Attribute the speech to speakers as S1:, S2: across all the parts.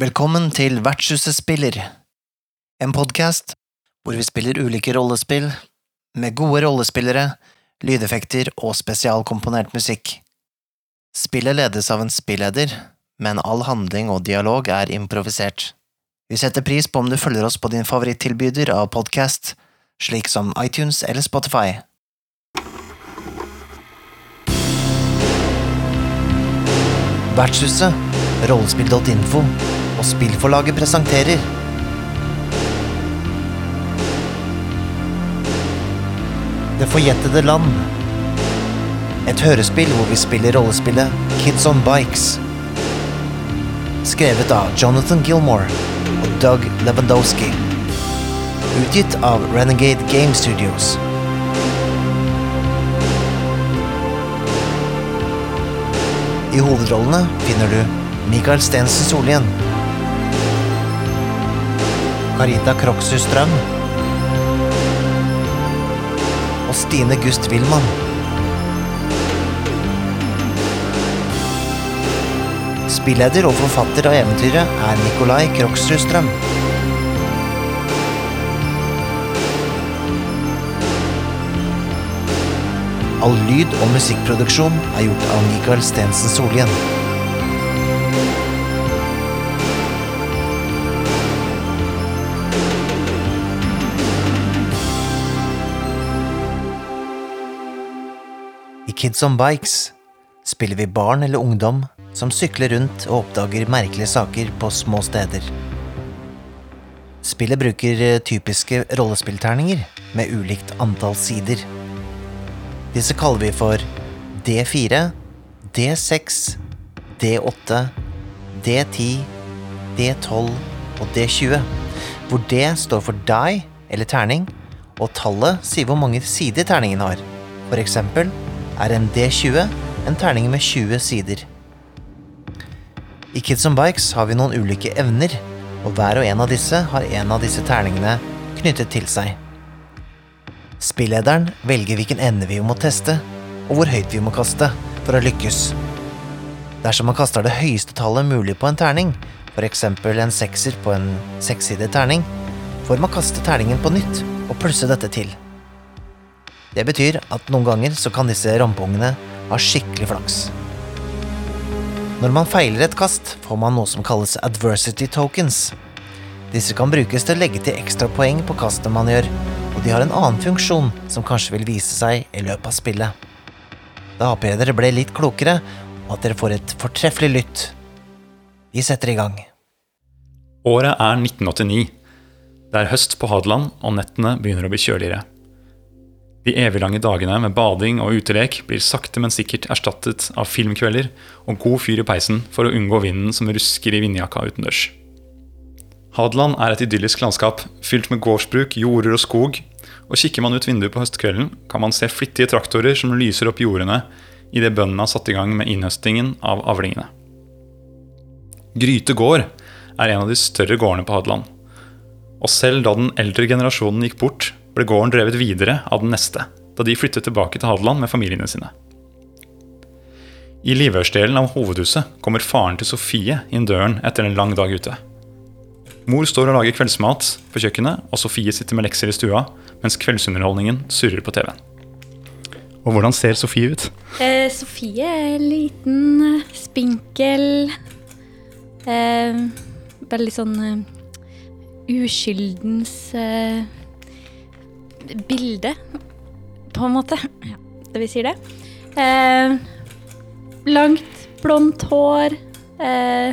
S1: Velkommen til Vertshuset spiller, en podkast hvor vi spiller ulike rollespill, med gode rollespillere, lydeffekter og spesialkomponert musikk. Spillet ledes av en spilleder, men all handling og dialog er improvisert. Vi setter pris på om du følger oss på din favorittilbyder av podkast, slik som iTunes eller Spotify. Vertshuset, rollespill.info og spillforlaget presenterer Det forjettede land. Et hørespill hvor vi spiller rollespillet Kids on Bikes. Skrevet av Jonathan Gilmore og Doug Lewandowski. Utgitt av Renegade Game Studios. I hovedrollene finner du Michael Stensen Solien. Carita Kroksus Strøm. Og Stine Gust Wilman. Spilleder og forfatter av eventyret er Nikolai Kroksrud Strøm. All lyd- og musikkproduksjon er gjort av Michael Stensen Solien. I Kids on Bikes spiller vi barn eller ungdom som sykler rundt og oppdager merkelige saker på små steder. Spillet bruker eh, typiske rollespillterninger med ulikt antall sider. Disse kaller vi for D4, D6, D8, D10, D12 og D20, hvor D står for die, eller terning, og tallet sier hvor mange sider terningen har. For eksempel er en D20 en terning med 20 sider. I Kids on Bikes har vi noen ulike evner, og hver og en av disse har en av disse terningene knyttet til seg. Spillederen velger hvilken ende vi må teste, og hvor høyt vi må kaste for å lykkes. Dersom man kaster det høyeste tallet mulig på en terning, f.eks. en sekser på en sekssidet terning, får man kaste terningen på nytt og plusse dette til. Det betyr at noen ganger så kan disse rampungene ha skikkelig flaks. Når man feiler et kast, får man noe som kalles adversity tokens. Disse kan brukes til å legge til ekstra poeng på kastet man gjør, og de har en annen funksjon som kanskje vil vise seg i løpet av spillet. Da håper jeg dere ble litt klokere, og at dere får et fortreffelig lytt. Vi setter i gang.
S2: Året er 1989. Det er høst på Hadeland, og nettene begynner å bli kjøligere. De eviglange dagene med bading og utelek blir sakte, men sikkert erstattet av filmkvelder og god fyr i peisen for å unngå vinden som rusker i vindjakka utendørs. Hadeland er et idyllisk landskap fylt med gårdsbruk, jorder og skog, og kikker man ut vinduet på høstkvelden, kan man se flittige traktorer som lyser opp jordene idet bøndene har satt i gang med innhøstingen av avlingene. Gryte gård er en av de større gårdene på Hadeland. Og selv da den eldre generasjonen gikk bort, ble gården drevet videre av den neste, da de flyttet tilbake til Hadeland med familiene sine. I livørsdelen av hovedhuset kommer faren til Sofie inn døren etter en lang dag ute. Mor står og lager kveldsmat på kjøkkenet, og Sofie sitter med lekser i stua, mens kveldsunderholdningen surrer på TV-en. Og hvordan ser Sofie ut?
S3: Eh, Sofie er liten, eh, spinkel. Eh, veldig sånn eh, uskyldens eh, bilde, på en måte. Ja, det vi sier det. Eh, langt, blondt hår. Eh,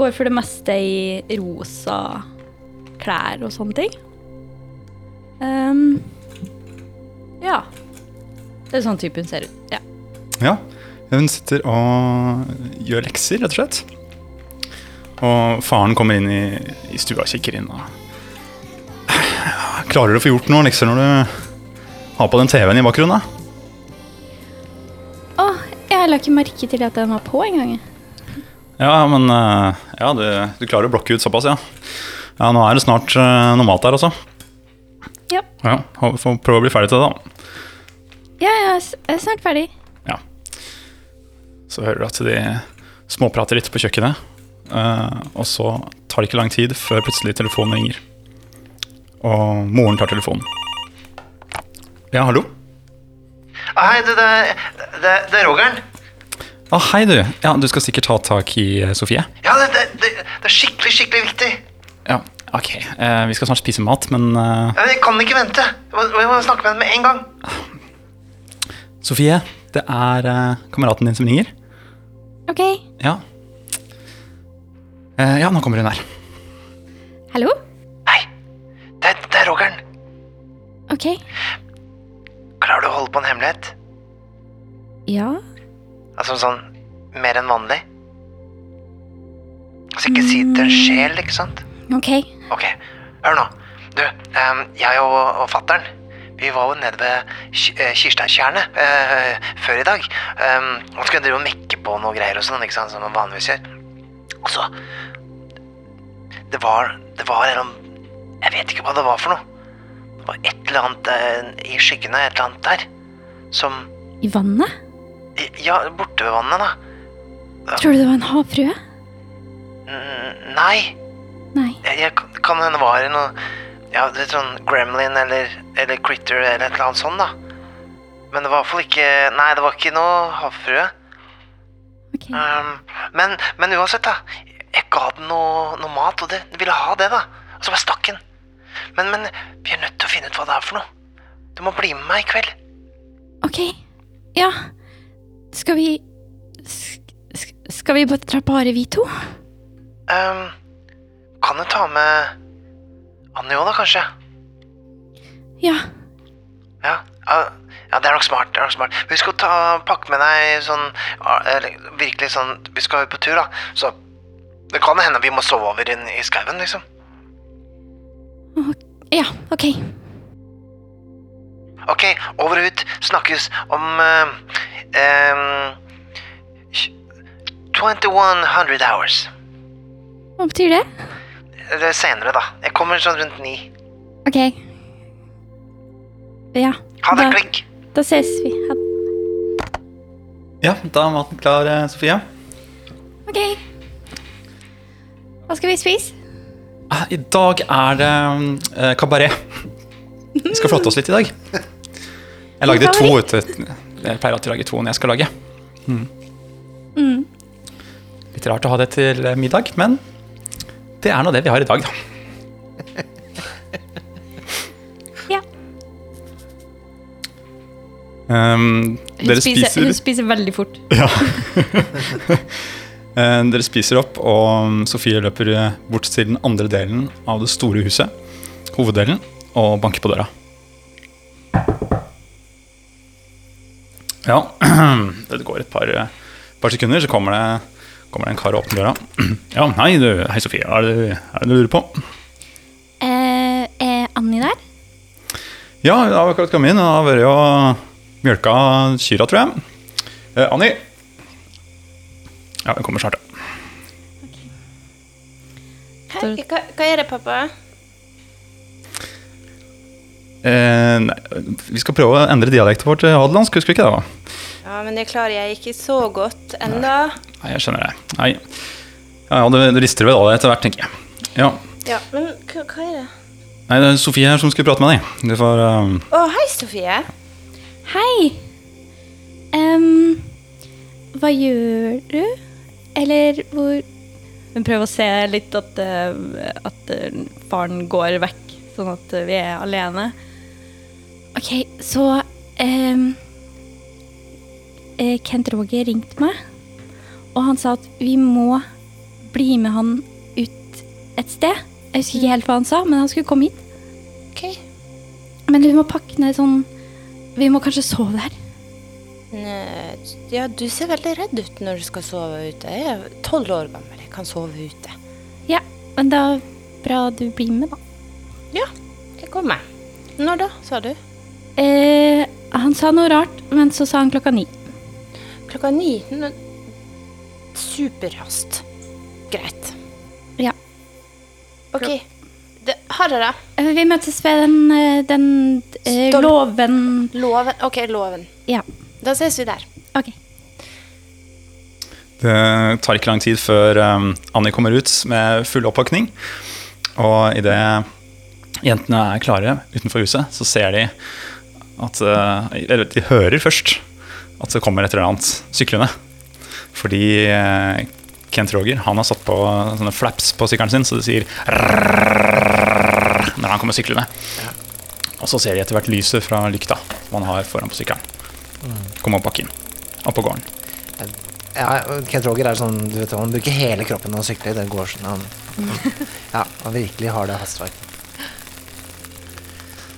S3: går for det meste i rosa klær og sånne ting. Ehm, ja. Det er sånn typen ser ut. Ja.
S2: Ja, hun sitter og gjør lekser, rett og slett. Og faren kommer inn i, i stua og kikker inn. Og Klarer du å få gjort noen lekser når du har på den TV-en i bakgrunnen? da?
S3: Å, jeg la ikke merke til at den var på engang.
S2: Ja, men eh, ja, du, du klarer å blokke ut såpass, ja. Ja, Nå er det snart eh, noe mat der, altså.
S3: Ja.
S2: Ja, hå- Får prøve å bli ferdig til det, da.
S3: ja, jeg er s- jeg er snart ferdig.
S2: Ja. Så hører du at de småprater litt på kjøkkenet. eh, og så tar det ikke lang tid før plutselig telefonen ringer. Og moren tar telefonen. Ja, hallo?
S4: Ah, Hei, du, det, det, det er Rogeren.
S2: Ah, hei, du. Ja, du skal sikkert ta tak i eh, Sofie.
S4: Ja, det, det, det, det er skikkelig, skikkelig viktig.
S2: Ja, ok. Eh, vi skal snart spise mat, men eh,
S4: Ja, Jeg kan ikke vente. Jeg må, jeg må snakke med henne med en gang.
S2: Sofie, det er eh, kameraten din som ringer.
S3: Ok.
S2: Ja. Eh, ja, nå kommer hun her.
S3: Hallo?
S4: Hei, det, det er Rogeren.
S3: Ok.
S4: Klarer du å holde på en hemmelighet?
S3: Ja.
S4: Altså sånn mer enn vanlig? Altså ikke si det til en sjel, ikke sant?
S3: Ok.
S4: Ok, hør nå. Du, ehm, jeg og, og fatteren, vi var jo nede ved Ki- eh, Kirsteintjernet eh, før i dag. Ehm, Han skulle drive og mekke på noe greier og sånn, ikke sant, som man vanligvis gjør. Og så Det var Det var en eller annen Jeg vet ikke hva det var for noe. Det var et eller annet eh, i skyggene, et eller annet der, som
S3: I vannet?
S4: Ja, borte ved vannet, da.
S3: Tror du det var en havfrue?
S4: N- Nei,
S3: Nei.
S4: jeg, jeg kan- kan hende var det noe Ja, det er sånn gremlin eller, eller critter eller et eller annet sånt, da. Men det var i hvert fall ikke Nei, det var ikke noe havfrue.
S3: Ok.
S4: Ehm, men, men uansett, da. Jeg ga den noe, noe mat, og det, den ville ha det, da. Og så bare stakk den. Men, men vi er nødt til å finne ut hva det er for noe. Du må bli med meg i kveld.
S3: Ok. Ja. Skal vi sk sk Skal vi bare dra bare vi to?
S4: Ehm, kan du ta med Annie òg, da, kanskje?
S3: Ja.
S4: Ja, ja, ja, det er nok smart. det er nok smart. Vi skal ta, pakke med deg sånn ja, eller, Virkelig sånn Vi skal jo på tur, da. Så det kan hende vi må sove over inn i skauen, liksom.
S3: Ok. Ja, ok.
S4: Ok, over og ut. Snakkes om eh, em, 2100 hours.
S3: Hva betyr det?
S4: Eller senere, da. Jeg kommer sånn rundt ni.
S3: Ok. Ja.
S4: Ha det,
S3: da,
S4: klikk!
S3: da ses vi. Ha
S2: Ja, da er maten klar, eh, Sofie.
S3: Ok. Hva skal vi spise?
S2: Eh, I dag er det eh, kabaret. Vi skal flotte oss litt i dag. Jeg lagde to
S3: Favoritt.
S2: ute. Jeg pleier alltid å lage to når jeg skal lage. Hmm.
S3: Mm.
S2: Litt rart å ha det til eh, middag, men det er nå det vi har i dag, da.
S3: Ja.
S2: Ehm, dere spiser
S3: Hun spiser veldig fort.
S2: Ja. Eh, Dere spiser opp, og Sofie løper eh, bort til den andre delen av det store huset, hoveddelen, og banker på døra. Ja, det går et par, eh, par sekunder, så kommer det, kommer det en kar og åpner døra. Ja, hei, du. Hei, Sofie. Hva er det hva er det du lurer på?
S3: Eh, er Annie der?
S2: Ja, jeg har akkurat kommet inn. Jeg har vært og mjølka kyrne, tror jeg. Eh, Anni. Ja, hun kommer snart, ja.
S5: Hei, hva, hva er det, pappa?
S2: Eh, nei, vi skal prøve å endre dialekten vår til hadelandsk, husker du ikke det? da?
S5: Ja, men det klarer jeg ikke så godt enda.
S2: Nei, jeg skjønner det. Nei. Ja, ja, du, du rister vel av deg etter hvert, tenker jeg. Ja.
S5: Ja, men hva, hva er det?
S2: Nei, det er Sofie her som skulle prate med deg. Du får eh,
S5: Å, hei, Sofie.
S3: Hei! Ehm, hva gjør du? Eller hvor
S6: Men prøv å se litt at, eh, at eh, faren går vekk, sånn at eh, vi er alene.
S3: Ok, så ehm, eh, Kent Roger ringte meg, og han sa at vi må bli med han ut et sted. Jeg husker
S6: Mm.
S3: ikke helt hva han sa, men han skulle komme hit.
S5: Ok.
S3: Men vi må pakke ned sånn Vi må kanskje sove her.
S5: Nei, Ja, du ser veldig redd ut når du skal sove ute. Jeg er tolv år gammel, jeg kan sove ute.
S3: Ja, men da bra du blir med, da.
S5: Ja, jeg kommer. Når da, sa du?
S3: Eh, han sa noe rart, men så sa han klokka ni.
S5: Klokka ni. Nå- Superrast. Greit.
S3: Ja.
S5: Ok. Det, ha det, da.
S3: Eh, Vi møtes ved den, eh, den eh,
S5: Stol-
S3: låven
S5: Loven. Ok, loven.
S3: Ja,
S5: Da ses vi der.
S3: OK.
S2: Det tar ikke lang tid før um, Annie kommer ut med full oppakning. Og idet jentene er klare utenfor huset, så ser de at uh, Eller de hører først at det kommer et eller annet syklende. Fordi uh, Kent Roger han har satt på sånne flaps på sykkelen sin, så det sier «rrrr» når han kommer syklende. Og så ser de etter hvert lyset fra lykta som han har foran på sykkelen. Komme opp bakken. Opp på gården.
S1: Ja, Kent Roger er sånn, du vet, han bruker hele kroppen når han sykler. Det går sånn han, Ja, han virkelig har det hastverk.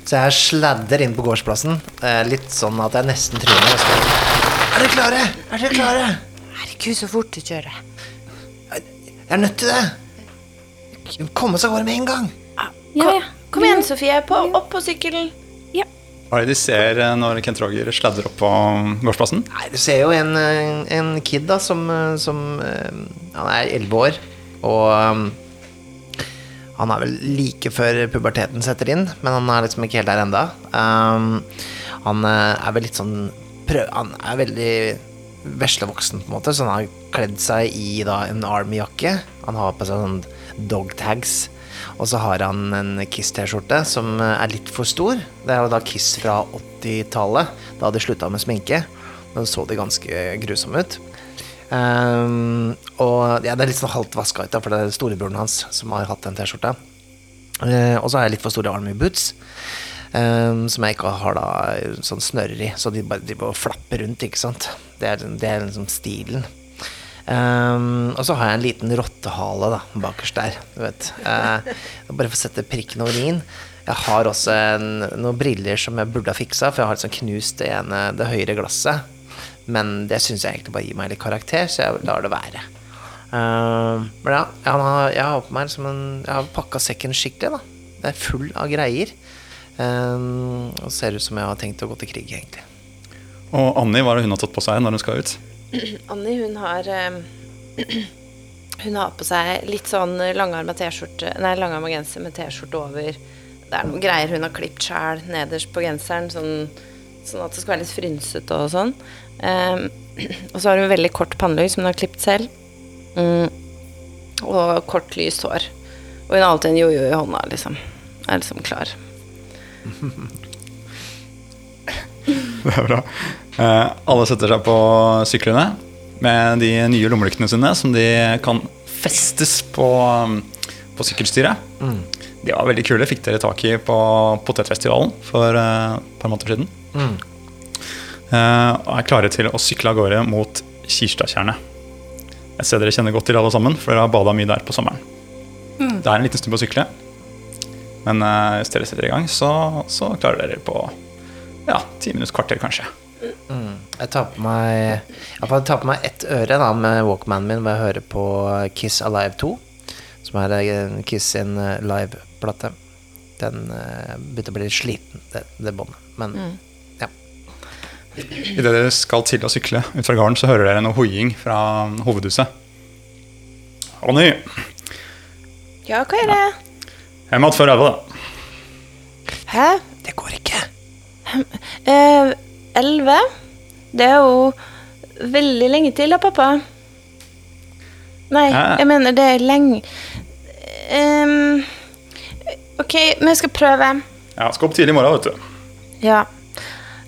S1: Så jeg sladder inn på gårdsplassen, eh, litt sånn at jeg nesten tryner. Jeg skal, er dere klare? Er dere klare?
S5: Herregud, så fort du kjører.
S1: Jeg er nødt til det. Vi må komme oss av gårde med en gang.
S3: Ja, ja.
S5: Kom igjen, Sofie. På, opp på sykkelen.
S2: Hva er det de ser eh, når Kent Roger sladder opp på gårdsplassen?
S1: Nei, du ser jo en, eh, en kid da, som, eh, som eh, Han er 11 år, og um, eh, han er vel like før puberteten setter inn, men han er liksom ikke helt der enda. Um, han eh, er vel litt sånn prøv, Han er veldig veslevoksen, på en måte, så han har kledd seg i da, en Army-jakke. Han har på seg sånn dogtags. Og så har han en Kiss-T-skjorte som eh, er litt for stor. Det er jo da Kiss fra 80-tallet, da de slutta med sminke. Da så de ganske grusomme ut. Ehm, og ja, det er litt sånn halvt vaska ut, da, for det er storebroren hans som har hatt den T-skjorta. Eh, og så har jeg litt for store Army boots, ehm, som jeg ikke har da sånn snører i, så de bare driver og flapper rundt, ikke sant. Det er, det er liksom stilen. Ehm, og så har jeg en liten rottehale da, bakerst der, du vet. Eh, bare for å sette prikken over i-en. Jeg har også en, noen briller som jeg burde ha fiksa, for jeg har liksom knust det ene, det høyre glasset. Men det syns jeg egentlig bare gir meg litt karakter, så jeg lar det være. Ehm, men ja, jeg har, jeg har på meg liksom en Jeg har pakka sekken skikkelig, da. Det er full av greier. Ehm, og ser ut som jeg har tenkt å gå til krig, egentlig.
S2: Og Annie, hva er det hun har tatt på seg når hun skal ut?
S5: Annie, hun har eh, Hun har på seg litt sånn langarma T-skjorte Nei, langarma genser med T-skjorte over. Det er noen greier hun har klippet sjæl nederst på genseren, sånn, sånn at det skal være litt frynsete og sånn. Eh, og så har hun veldig kort pannelugg som hun har klippet selv. Mm. Og kort, lyst hår. Og hun har alltid en jojo i hånda, liksom. Er liksom klar.
S2: Det er bra. Eh, alle setter seg på syklene med de nye lommelyktene sine, som de kan festes på, um, på sykkelstyret. De var veldig kule. Fikk dere tak i på Potetfestivalen for eh, et par måneder siden. Eh, og er klare til å sykle av gårde mot Kirstadtjernet. Et sted dere kjenner godt til, alle sammen, for dere har bada mye der på sommeren. Det er en liten stund på å sykle, men eh, hvis dere setter i gang, så, så klarer dere på ja, ti minutter, kvarter kanskje.
S1: Jeg tar på meg Jeg får ta på meg ett øre da med walkmanen min hvor jeg hører på Kiss Alive 2, som er eh, Kiss sin eh, liveplate. Den eh, begynte å bli litt sliten, det, det båndet. Men ja.
S2: Idet dere skal til å sykle ut fra gården, så hører dere noe hoiing fra hovedhuset. Ronny,
S5: Ja, hva er det?
S2: hjem igjen før elleve, da.
S5: Hæ?
S1: Det går ikke.
S5: Eh, Elleve? det er jo veldig lenge til da, pappa. Nei,
S2: Hæ?
S5: jeg mener det er lenge Ehm, OK, men jeg skal prøve.
S2: Ja, skal opp tidlig i morgen, vet du.
S5: Ja.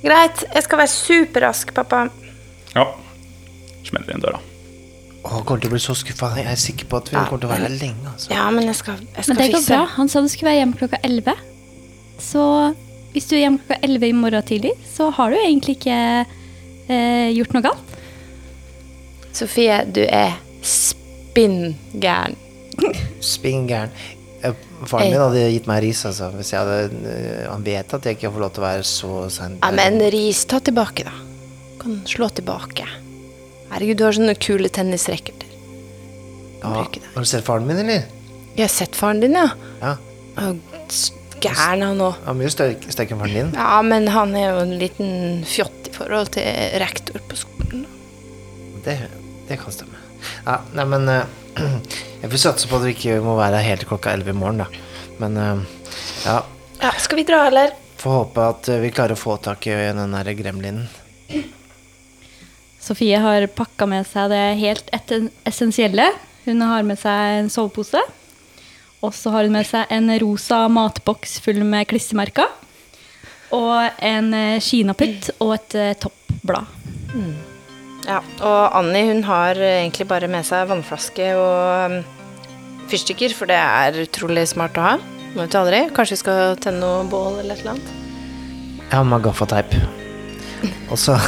S5: Greit. Jeg skal være superrask, pappa.
S2: Ja. Smeller inn døra.
S1: Å, kommer til å bli så skuffa. Jeg er sikker på at vi kommer til å være der lenge. Altså.
S5: Ja, men jeg skal, jeg skal
S3: Men det går
S5: fikse
S3: bra. Han sa du skulle være hjemme klokka 11. Så hvis du er hjemme klokka 11 i morgen tidlig, så har du egentlig ikke eh, gjort noe galt.
S5: Sofie, du er spinngæren.
S1: Spinngæren. Eh, Faren min hadde gitt meg ris, altså. Hvis jeg hadde, eh, han vet at jeg ikke får lov til å være så sein.
S5: Ja, men ris, ta tilbake, da. Kan slå tilbake. Herregud, du har sånne kule tennisracketer. Kan
S1: Ja.
S5: bruke det.
S1: Har du sett faren min, eller?
S5: Jeg har sett faren din, ja.
S1: Ja.
S5: Han er jo s- Gæren han òg.
S1: Han er mye sterk- sterkere enn faren din.
S5: Ja, men han er jo en liten fjott i forhold til rektor på skolen.
S1: Det, det kan stemme. Ja, nei, men eh, Jeg får satse på at vi ikke må være her helt til klokka 11 i morgen, da. Men eh, ja,
S5: Ja, Skal vi dra, eller?
S1: får håpe at eh, vi klarer å få tak i den der gremlinen.
S7: Sofie har pakka med seg det helt etten- essensielle. Hun har med seg en sovepose. Og så har hun med seg en rosa matboks full med klistremerker. Og en eh, kinaputt og et eh, toppblad.
S5: Ja, og Annie hun har eh, egentlig bare med seg vannflaske og mm, fyrstikker, for det er utrolig smart å ha. Må jo aldri. Kanskje vi skal tenne noe bål eller et eller annet.
S1: Jeg har med meg gaffateip. Og så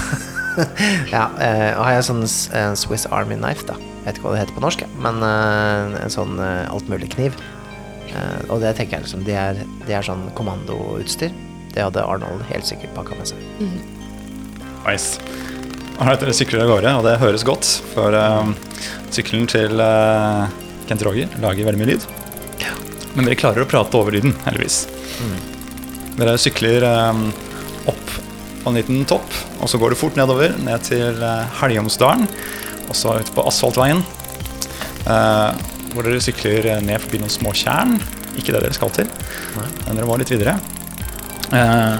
S1: Ja, eh, og har jeg sånn s- eh, Swiss Army knife, da. Jeg vet ikke hva det heter på norsk, jeg, men eh, en sånn eh, altmulig-kniv. Eh, og det tenker jeg liksom, det er, det er sånn kommandoutstyr. Det hadde Arnold helt sikkert pakka med seg.
S2: Nice. Alright, dere sykler av gårde, og det høres godt. For eh, sykkelen til eh, Kent Roger lager veldig mye lyd. Men dere klarer å prate over lyden, heldigvis. Dere sykler eh, opp på en liten topp, og så går det fort nedover, ned til eh, Helgomsdalen, og så ut på asfaltveien. eh, hvor dere sykler eh, ned forbi noen små tjern. Ikke det dere skal til, men dere var litt videre. Eh,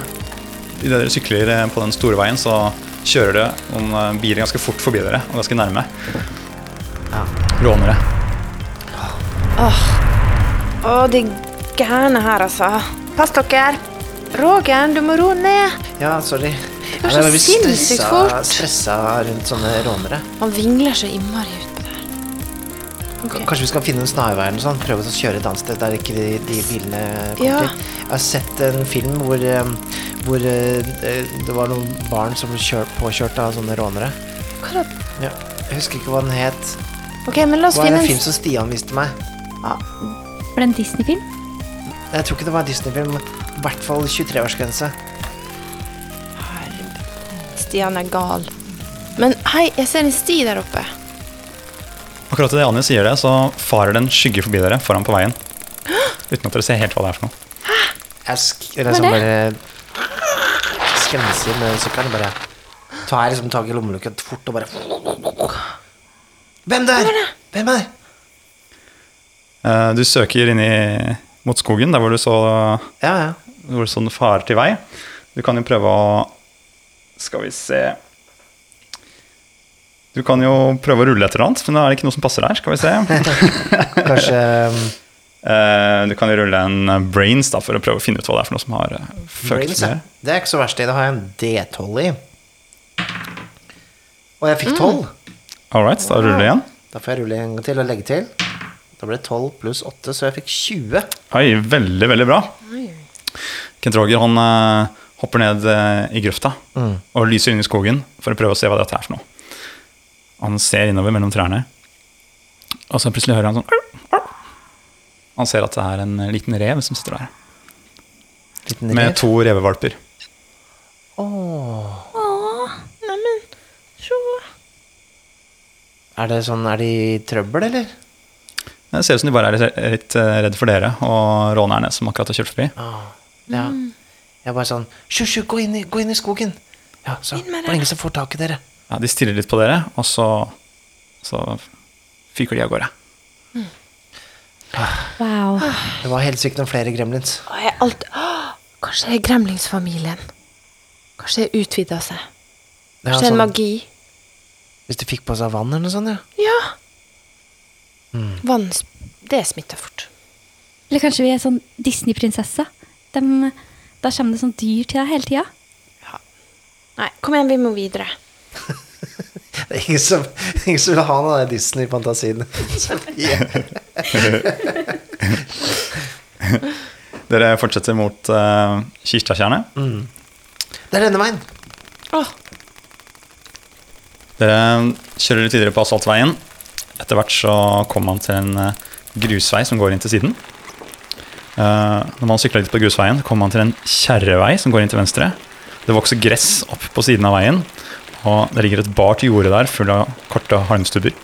S2: Idet dere sykler eh, på den store veien, så kjører det noen eh, biler ganske fort forbi dere, og ganske nærme. Rånere.
S5: Å, de gærne her, altså. Pass dere. Roger, du må roe ned.
S1: Ja, sorry.
S5: var
S1: Ja, det
S5: så
S1: visst
S5: sinnssykt
S1: stressa-
S5: fort.
S1: Stressa rundt sånne rånere.
S5: Han vingler så innmari utpå der.
S1: K- Kanskje vi skal finne en snarvei eller noe sånt? Prøve å kjøre et annet sted der ikke de, de bilene kommer
S5: Ja.
S1: til. Jeg har sett en film hvor, eh, hvor eh, det var noen barn som ble kjørt, påkjørt av sånne rånere.
S5: Hva da?
S1: Ja. Jeg husker ikke hva den het.
S5: Ok, men la oss
S1: Det var
S5: finne
S1: en
S5: en
S1: film som Stian viste meg.
S3: For det er en Disney-film.
S1: Jeg tror ikke det var en Disney-film. I hvert fall 23-årsgrense.
S5: Stian er gal. Men hei, jeg ser en sti der oppe.
S2: Akkurat idet Anja sier det, så farer det en skygge forbi dere foran på veien. Uten at dere ser helt hva det er for noe.
S1: Jeg sk liksom bare skrenser med sykkelen og bare tar liksom tak i lommelukka fort og bare Hvem der? Hvem er det?
S2: Eh, Du søker inn i, mot skogen, der hvor du så
S1: Ja, ja.
S2: hvor sånn farer til vei. Du kan jo prøve å Skal vi se Du kan jo prøve å rulle et eller annet, men da er det ikke noe som passer her. Skal vi se.
S1: Kanskje um,
S2: Eh, Du kan jo rulle en eh, brains da, for å prøve å finne ut hva det er for noe som har eh, fucket
S1: Brains,
S2: med
S1: ja.
S2: dere.
S1: Det er ikke så verst. i, Det har jeg en D12 i. Og jeg fikk
S5: Mm.
S1: 12.
S2: All right, da ruller du igjen.
S1: Da får jeg rulle en gang til og legge til. Da ble det 12 pluss 8, så jeg fikk 20.
S2: Oi, veldig, veldig bra. Kent Roger han eh, hopper ned eh, i grøfta og lyser inn i skogen for å prøve å se hva dette er for noe. Han ser innover mellom trærne, og så plutselig hører han sånn «Au, au». Han ser at det er en eh, liten rev som sitter der,
S1: Liten
S2: med
S1: rev.
S2: to revevalper.
S5: Neimen, sjå.
S1: Er det sånn, er de i trøbbel, eller?
S2: Det ser ut som de bare er litt, litt eh, redd for dere og rånerne som akkurat har kjørt forbi.
S1: Ah, ja.
S5: Mm.
S1: Jeg er bare sånn Sju, sju, gå, inn i- gå inn i skogen! Ja, så
S5: Inn med
S1: var det ingen som får tak i dere.
S2: Ja, de stirrer litt på dere, og så, så fyker de av gårde.
S3: Wow.
S1: Det var helt sykt noen flere gremlins.
S5: Og jeg alt... Åh, kanskje det er gremlingsfamilien. Kanskje det utvida seg.
S1: Det er
S5: Kanskje det er en
S1: sånn,
S5: magi.
S1: hvis de fikk på seg vann eller noe sånt, ja.
S5: Ja. Vann Det smitter fort.
S3: Eller kanskje vi er sånn Disney-prinsesse. Dem- Da kommer det sånn dyr til deg hele tida.
S5: Ja. Nei, kom igjen, vi må videre.
S1: Det er ingen som, ingen som vil ha noe av den Disney-fantasien. Så vi-
S2: Dere fortsetter mot uh, Kirstatjernet.
S1: Det er denne veien!
S5: Åh,
S2: Dere kjører litt videre på asfaltveien. Etter hvert så kommer man til en eh, grusvei som går inn til siden. Eh, når man sykler litt på grusveien, kommer man til en kjerrevei som går inn til venstre. Det vokser gress opp på siden av veien, og det ligger et bart jorde der full av korte halmstubber.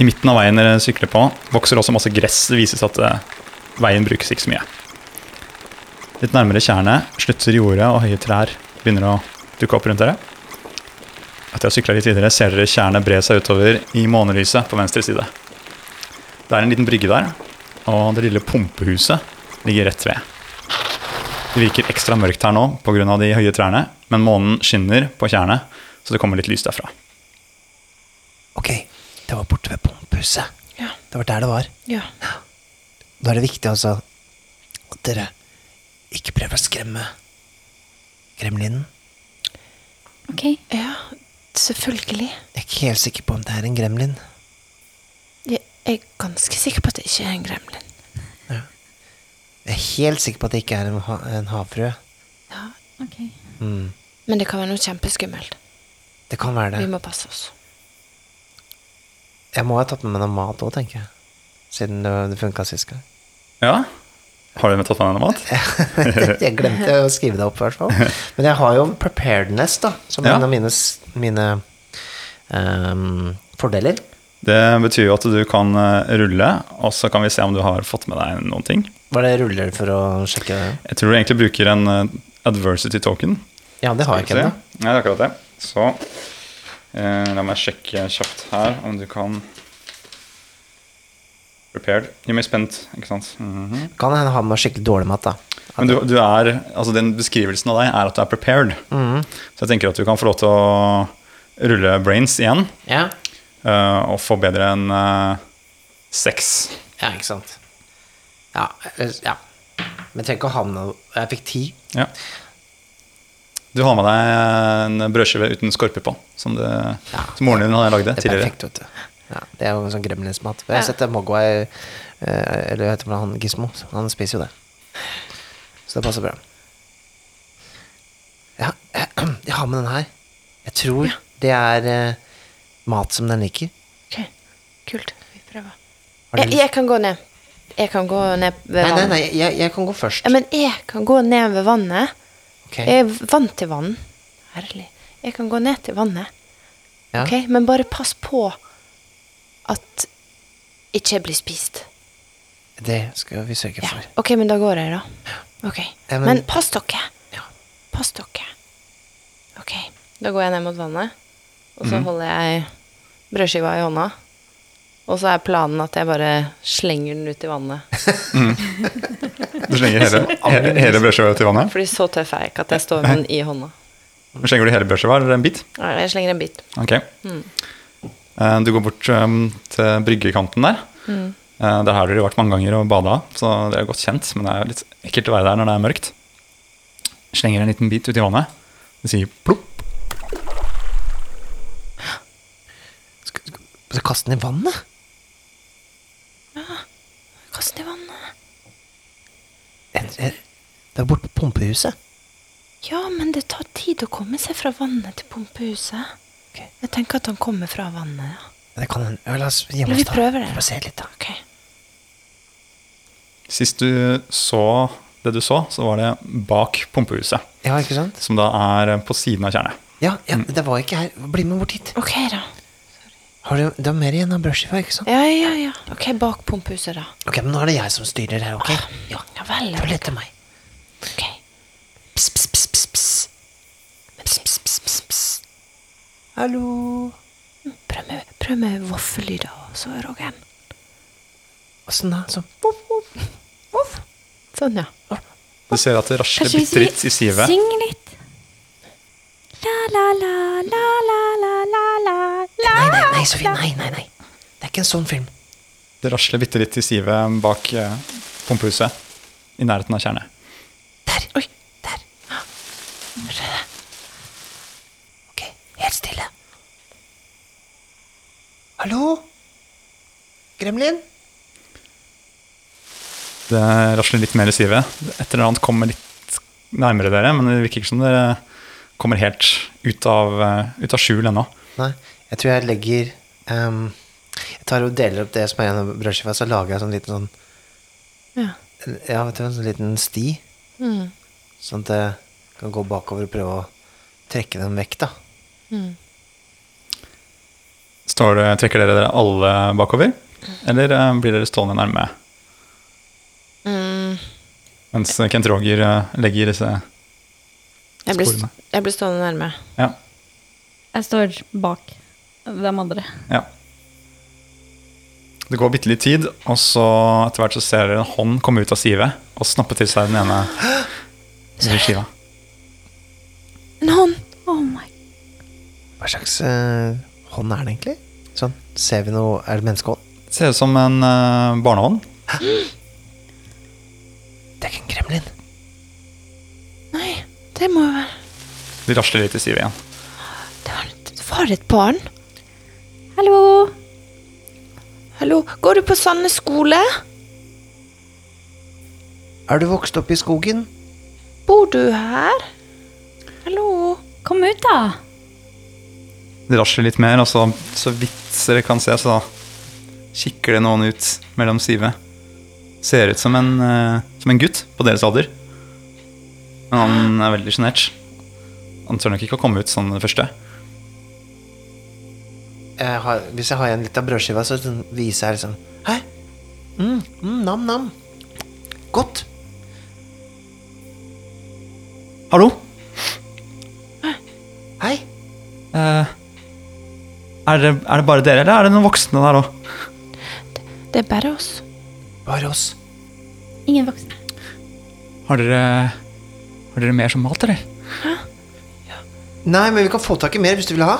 S2: I midten av veien dere sykler på, vokser også masse gress. Det vises at eh, veien brukes ikke så mye. Litt nærmere tjernet slutter jordet, og høye trær begynner å dukke opp rundt dere. Etter å ha sykla litt videre, ser dere tjernet bre seg utover i månelyset på venstre side. Det er en liten brygge der, og det lille pumpehuset ligger rett ved. Det virker ekstra mørkt her nå pga. de høye trærne, men månen skinner på tjernet Så det kommer litt lys derfra.
S1: Ok, det var borte ved pumphuset.
S5: Ja.
S1: Det var der det var.
S5: Ja.
S1: Da er det viktig altså at dere ikke prøver å skremme gremlinen.
S3: Ok,
S5: ja, selvfølgelig.
S1: Jeg er ikke helt sikker på om det er en gremlin.
S5: Jeg er ganske sikker på at det ikke er en gremlin.
S1: Jeg er helt sikker på at det ikke er en, ha en havfrue.
S5: Ja.
S3: ok.
S1: Mm.
S5: Men det kan være noe kjempeskummelt.
S1: Det kan være
S5: Vi
S1: det.
S5: må passe oss.
S1: Jeg må ha tatt med meg noe mat òg, tenker jeg. Siden det, det funka sist gang.
S2: Ja? Har du tatt med deg noe mat?
S1: jeg glemte å skrive det opp, i hvert fall. Men jeg har jo preparedness, da, som
S2: Ja.
S1: en av mine, s- mine ehm, fordeler.
S2: Det betyr jo at du kan eh, rulle, og så kan vi se om du har fått med deg noen ting.
S1: Var det ruller for å sjekke
S2: Jeg tror du egentlig bruker en eh, adversity token.
S1: Ja, det har jeg ikke
S2: Skal vi
S1: ennå.
S2: se. Nei, det er akkurat det. Så eh, la meg sjekke kjapt her om du kan Prepared. Gjør meg spent, ikke sant. Mhm.
S1: Kan hende han har skikkelig dårlig mat, da.
S2: Men du, du er, altså den beskrivelsen av deg er at du er prepared.
S1: Mhm.
S2: Så jeg tenker at du kan få lov til å rulle brains igjen
S1: Ja.
S2: eh, og få bedre enn eh, seks.
S1: ja, ikke sant. Ja. eh, ja. Men trenger ikke å ha med noe Jeg fikk ti.
S2: Ja. Du har med deg en brødskive uten skorpe på, som, det, som moren din hadde lagd
S1: Det er
S2: tidligere.
S1: perfekt, vet du. Ja, det er jo sånn gremlinsmat. Jeg har sett det Mogwai eh, Eller jeg vet ikke om det er han Gismo. Han spiser jo det. Så det passer bra. Ja, jeg, jeg har med den her. Jeg tror det er eh, mat som den liker.
S5: Ok, kult. Vi prøver.
S1: Har
S5: Jeg,
S1: du
S5: jeg kan gå ned. Jeg kan gå ned
S1: Nei,
S5: ved
S1: nei,
S5: vannet.
S1: nei, jeg, jeg kan gå først.
S5: Ja, men eh, jeg kan gå ned ved vannet.
S1: Ok.
S5: Jeg er vant til vann. Herlig. Jeg kan gå ned til vannet.
S1: Ja.
S5: Ok, Men bare pass på at ikke jeg blir spist.
S1: Det skal vi sørge for.
S5: Ok, men da går jeg, da. Ok.
S1: Ja, men-
S5: men... pass dere.
S1: Ja.
S5: Pass dere. Ok. Da går jeg ned mot vannet, og
S1: Mhm.
S5: så holder jeg brødskiva i hånda. Og så er planen at jeg bare slenger den ut i vannet.
S2: Du slenger hele, hele, hele brødskiva til vannet.
S5: Fordi så tøff er jeg ikke at jeg står med den i hånda.
S2: Slenger du hele brødskiva eller en bit?
S5: Nei, Jeg slenger en bit.
S2: Ok. Eh, Du går bort um, til bryggekanten der. Eh, Der har dere vært mange ganger og bada, så det er godt kjent. Men det er jo litt ekkelt å være der når det er mørkt. Slenger en liten bit ut i vannet. Det sier plopp.
S1: Skal, skal, skal kaste den i vannet?
S5: Kast den i vannet.
S1: Jeg- jeg- Det er borte på pumpehuset.
S5: Ja, men det tar tid å komme seg fra vannet til pumpehuset.
S1: Ok.
S5: Jeg tenker at han kommer fra vannet, ja.
S1: Det kan hende. Ja, La oss gjemme
S5: Men
S1: oss,
S5: vi
S1: da.
S5: prøver det.
S1: Få se litt, da.
S5: Ok.
S2: Sist du så det du så, så var det bak pumpehuset.
S1: Ja, ikke sant? Mm.
S2: Som da er på siden av tjernet.
S1: Ja, ja det var ikke her. Bli med bort hit.
S5: Ok, da.
S1: Har du, du har mer igjen av brødskiva, ikke sant?
S5: Ja, ja, ja. Ok, bak pumpehuset, da. Ah,
S1: Ok, men nå er det jeg som styrer her, ok? Ja,
S5: Ja vel.
S1: følg etter meg.
S5: Ok. Pss, pss, pss, pss, pss. Pss, pss, pss, pss, pss.
S1: Hallo?
S5: Prøv med, prøv med vaffellyder og så Rogen.
S1: Åssen da? Sånn.
S5: Voff, voff. Voff. Sånn, ja.
S2: Du ser at det rasler bitte litt i sivet.
S3: syng litt. La, la, la, la, la, la, la, la, la.
S1: Nei, nei, nei, Sofie. Nei, nei, nei. Det er ikke en sånn film.
S2: Det rasler bitte litt i sivet bak eh, pumpehuset. I nærheten av tjernet.
S1: Der.
S5: Oi, der. Ah.
S1: Ok, helt stille. Hallo? Gremlin?
S2: Det rasler litt mer i sivet. Et eller annet kommer litt nærmere dere, men det virker ikke som dere kommer helt ut av, eh, ut av skjul ennå.
S1: Nei, jeg tror jeg legger ehm, Jeg tar og deler opp det som er igjen av brødskiva, så lager jeg sånn liten sånn
S5: Ja. Mm.
S1: Ja, vet du, en sånn liten sti. Sånn at jeg kan gå bakover og prøve å trekke dem vekk, da.
S2: Står det, trekker dere dere alle bakover, eller eh, blir dere stående nærme?
S5: Mm.
S2: Mens Kent Roger eh, legger disse
S5: Jeg blir,
S2: Sporene.
S5: jeg blir stående nærme.
S2: Ja.
S7: Jeg står bak de andre.
S2: ja. Det går bitte litt tid, og så etter hvert så ser dere en hånd komme ut av sivet og snappe til seg den ene skiva.
S5: En hånd!
S3: Oh my
S1: Hva slags eh, hånd er det egentlig? Sånn, ser vi noe Er det menneskehånd?
S2: Ser ut som en eh, barnehånd.
S1: Det er ikke en gremlin.
S5: Nei, det må jo være
S2: De rasler litt i sivet igjen.
S5: Det var, det var et barn.
S3: Hallo!
S5: Hallo, går du på Sandnes skole?
S1: Er du vokst opp i skogen?
S5: Bor du her? Hallo?
S7: Kom ut, da!
S2: De rasler litt mer, og så, så vidt dere kan se, så kikker det noen ut mellom sivet. Ser ut som en, eh, som en gutt på deres alder. Men han er veldig sjenert. Han tør nok ikke å komme ut sånn det første.
S1: Jeg har, hvis jeg har igjen litt av brødskiva, så sånn viser jeg liksom Hæ? Mm, mm, nam, nam. Godt.
S2: Hallo?
S1: Hei.
S2: Eh, er, det, er det bare dere, eller er det noen voksne der òg?
S5: Det er bare oss.
S1: Bare oss.
S7: Ingen voksne.
S2: Har dere Har dere mer som mat, eller?
S1: Nei, men vi kan få tak i mer hvis du vil ha.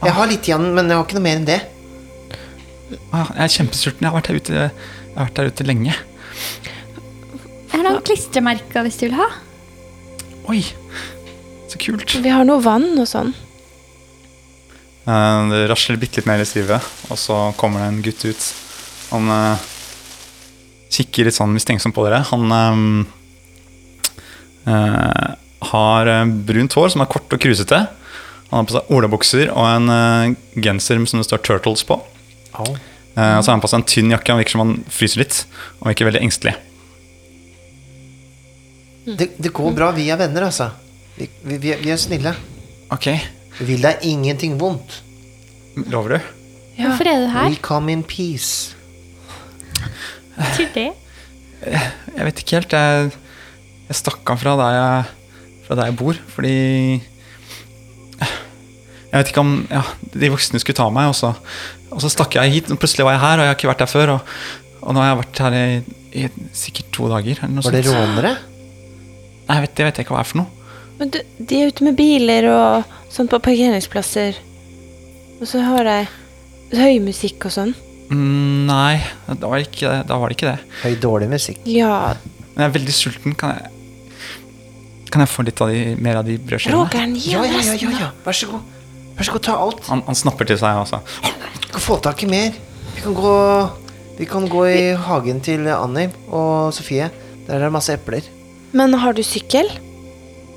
S1: Jeg har litt igjen, men jeg har ikke noe mer enn det.
S2: Ah, jeg er kjempesulten. Jeg har vært her ute, jeg har vært her ute lenge.
S7: Her er noen klistremerker hvis du vil ha.
S2: Oi, så kult.
S5: Vi har noe vann og sånn.
S2: Eh, Det rasler bitte litt mer i sivet, og så kommer det en gutt ut. Han eh, kikker litt sånn mistenksom på dere. Han eh, eh, har eh, brunt hår som er kort og krusete. Han har på seg olabukser og en eh, genser som det står 'Turtles' på.
S1: Au.
S2: Eh, og så har han på seg en tynn jakke. Han virker som han fryser litt, og virker veldig engstelig.
S1: Det, det går bra. Vi er venner, altså. Vi, vi, vi, er, vi er snille.
S2: Ok,
S1: Vi vil deg ingenting vondt.
S2: lover du?
S7: Hvorfor er du her?
S1: We come in peace.
S7: Til det?
S2: Jeg vet ikke helt. Jeg, jeg stakk av fra der jeg, fra der jeg bor, fordi Jeg vet ikke om ja, de voksne skulle ta meg, og så, og så stakk jeg hit. Og plutselig var jeg her, og jeg har ikke vært her før. Og, og nå har jeg vært her i, i sikkert to dager. Eller noe
S1: Var det
S2: sånt.
S1: rånere?
S2: Nei, jeg vet, det vet jeg ikke hva det er for noe.
S5: Men du, de er ute med biler og sånn på parkeringsplasser. Og så har de høymusikk og sånn.
S2: Mm, nei, da var, det ikke, da var det ikke det.
S1: Høy, dårlig musikk.
S5: Ja,
S2: Men jeg er veldig sulten. Kan jeg, kan jeg få litt av de, mer av de brødskivene?
S5: Roger'n, gi
S1: Ja,
S5: ham
S1: ja, ja, ja,
S5: resten. da.
S1: ja. Vær så god. Vær så god, ta alt.
S2: Han, han snapper til seg, altså.
S1: Vi kan få tak i mer. Vi kan gå, vi kan gå i hagen til Annie og Sofie. Der er det masse epler.
S5: Men har du sykkel?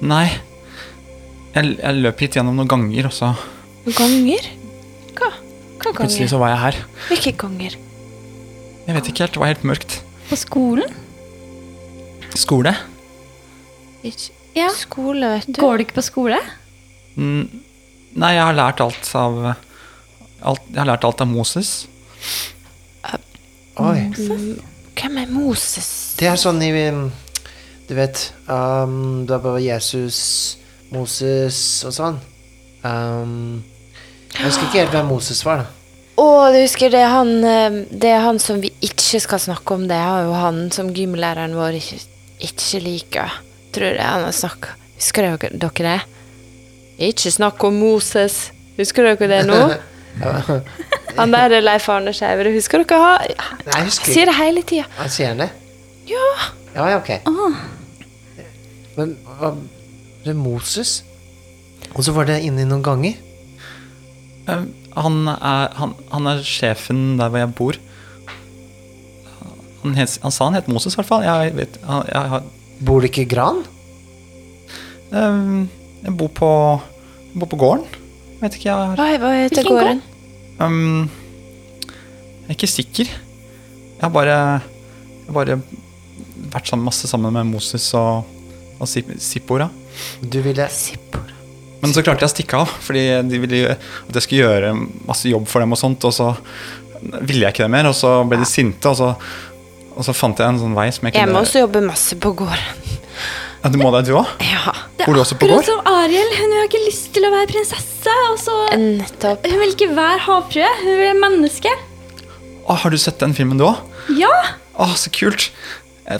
S2: Nei. Jeg, jeg løp hit gjennom noen ganger, og så
S5: Ganger? Hva? Hva
S2: plutselig
S5: ganger?
S2: så var jeg her.
S5: Hvilke ganger?
S2: Jeg vet ikke helt, det var helt mørkt.
S7: På skolen?
S2: Skole?
S5: Ikke-
S7: Ja.
S5: Skole, vet du.
S7: Går du ikke på skole?
S2: Mm, nei, jeg har lært alt av alt, Jeg har lært alt av Moses.
S1: Oi.
S5: Mm. Hvem er Moses?
S1: Det er sånn i um, Du vet um, Det er bare Jesus, Moses og sånn. Um, jeg husker ikke helt hvem Moses var, da.
S5: Å, du husker det er han eh, Det er han som vi ikke skal snakke om. Det er jo han som gymlæreren vår ikke, ikke liker. Tror jeg han har snakka Husker dere dere det? Ikke snakk om Moses. Husker dere det nå? Han der er Leif Arne Skeive. Husker dere ha?
S1: Nei, jeg husker ikke.
S5: Sier det hele tida.
S1: Han sier han det?
S5: Ja.
S1: Ja, ja, ok.
S5: Ah.
S1: Men hva Det er Moses? Og så var det inne i noen ganger?
S2: Eh, Han er, han, han er sjefen der hvor jeg bor. Han, het, han sa han het Moses, i hvert fall. Jeg vet han- Jeg, har-
S1: Bor det ikke i gran?
S2: eh, jeg bor på Jeg bor på gården. Jeg vet ikke, jeg har
S5: Hva, hva heter
S7: Hvilken
S5: gården?
S2: um, Jeg er ikke sikker. Jeg har bare, jeg har bare vært sammen, masse sammen med Moses og, og Sip- Sippora.
S1: Du ville
S2: Men så klarte jeg å stikke av, fordi de ville jo- at jeg skulle gjøre masse jobb for dem, og sånt, og så ville jeg ikke det mer, og så ble de sinte, og så, og så fant jeg en sånn vei som jeg
S5: Jeg må
S2: kunne
S5: også jobbe masse på gården.
S2: ja, Du må det, du òg?
S5: Ja,
S2: Bor du også på gård?
S7: som Ariel. Hun har ikke lyst til å være prinsesse. Og så
S5: nettopp.
S7: Hun vil ikke være havfrue. Hun vil være menneske.
S2: Å, har du sett den filmen, du òg?
S7: Ja!
S2: Å, så kult! Jeg,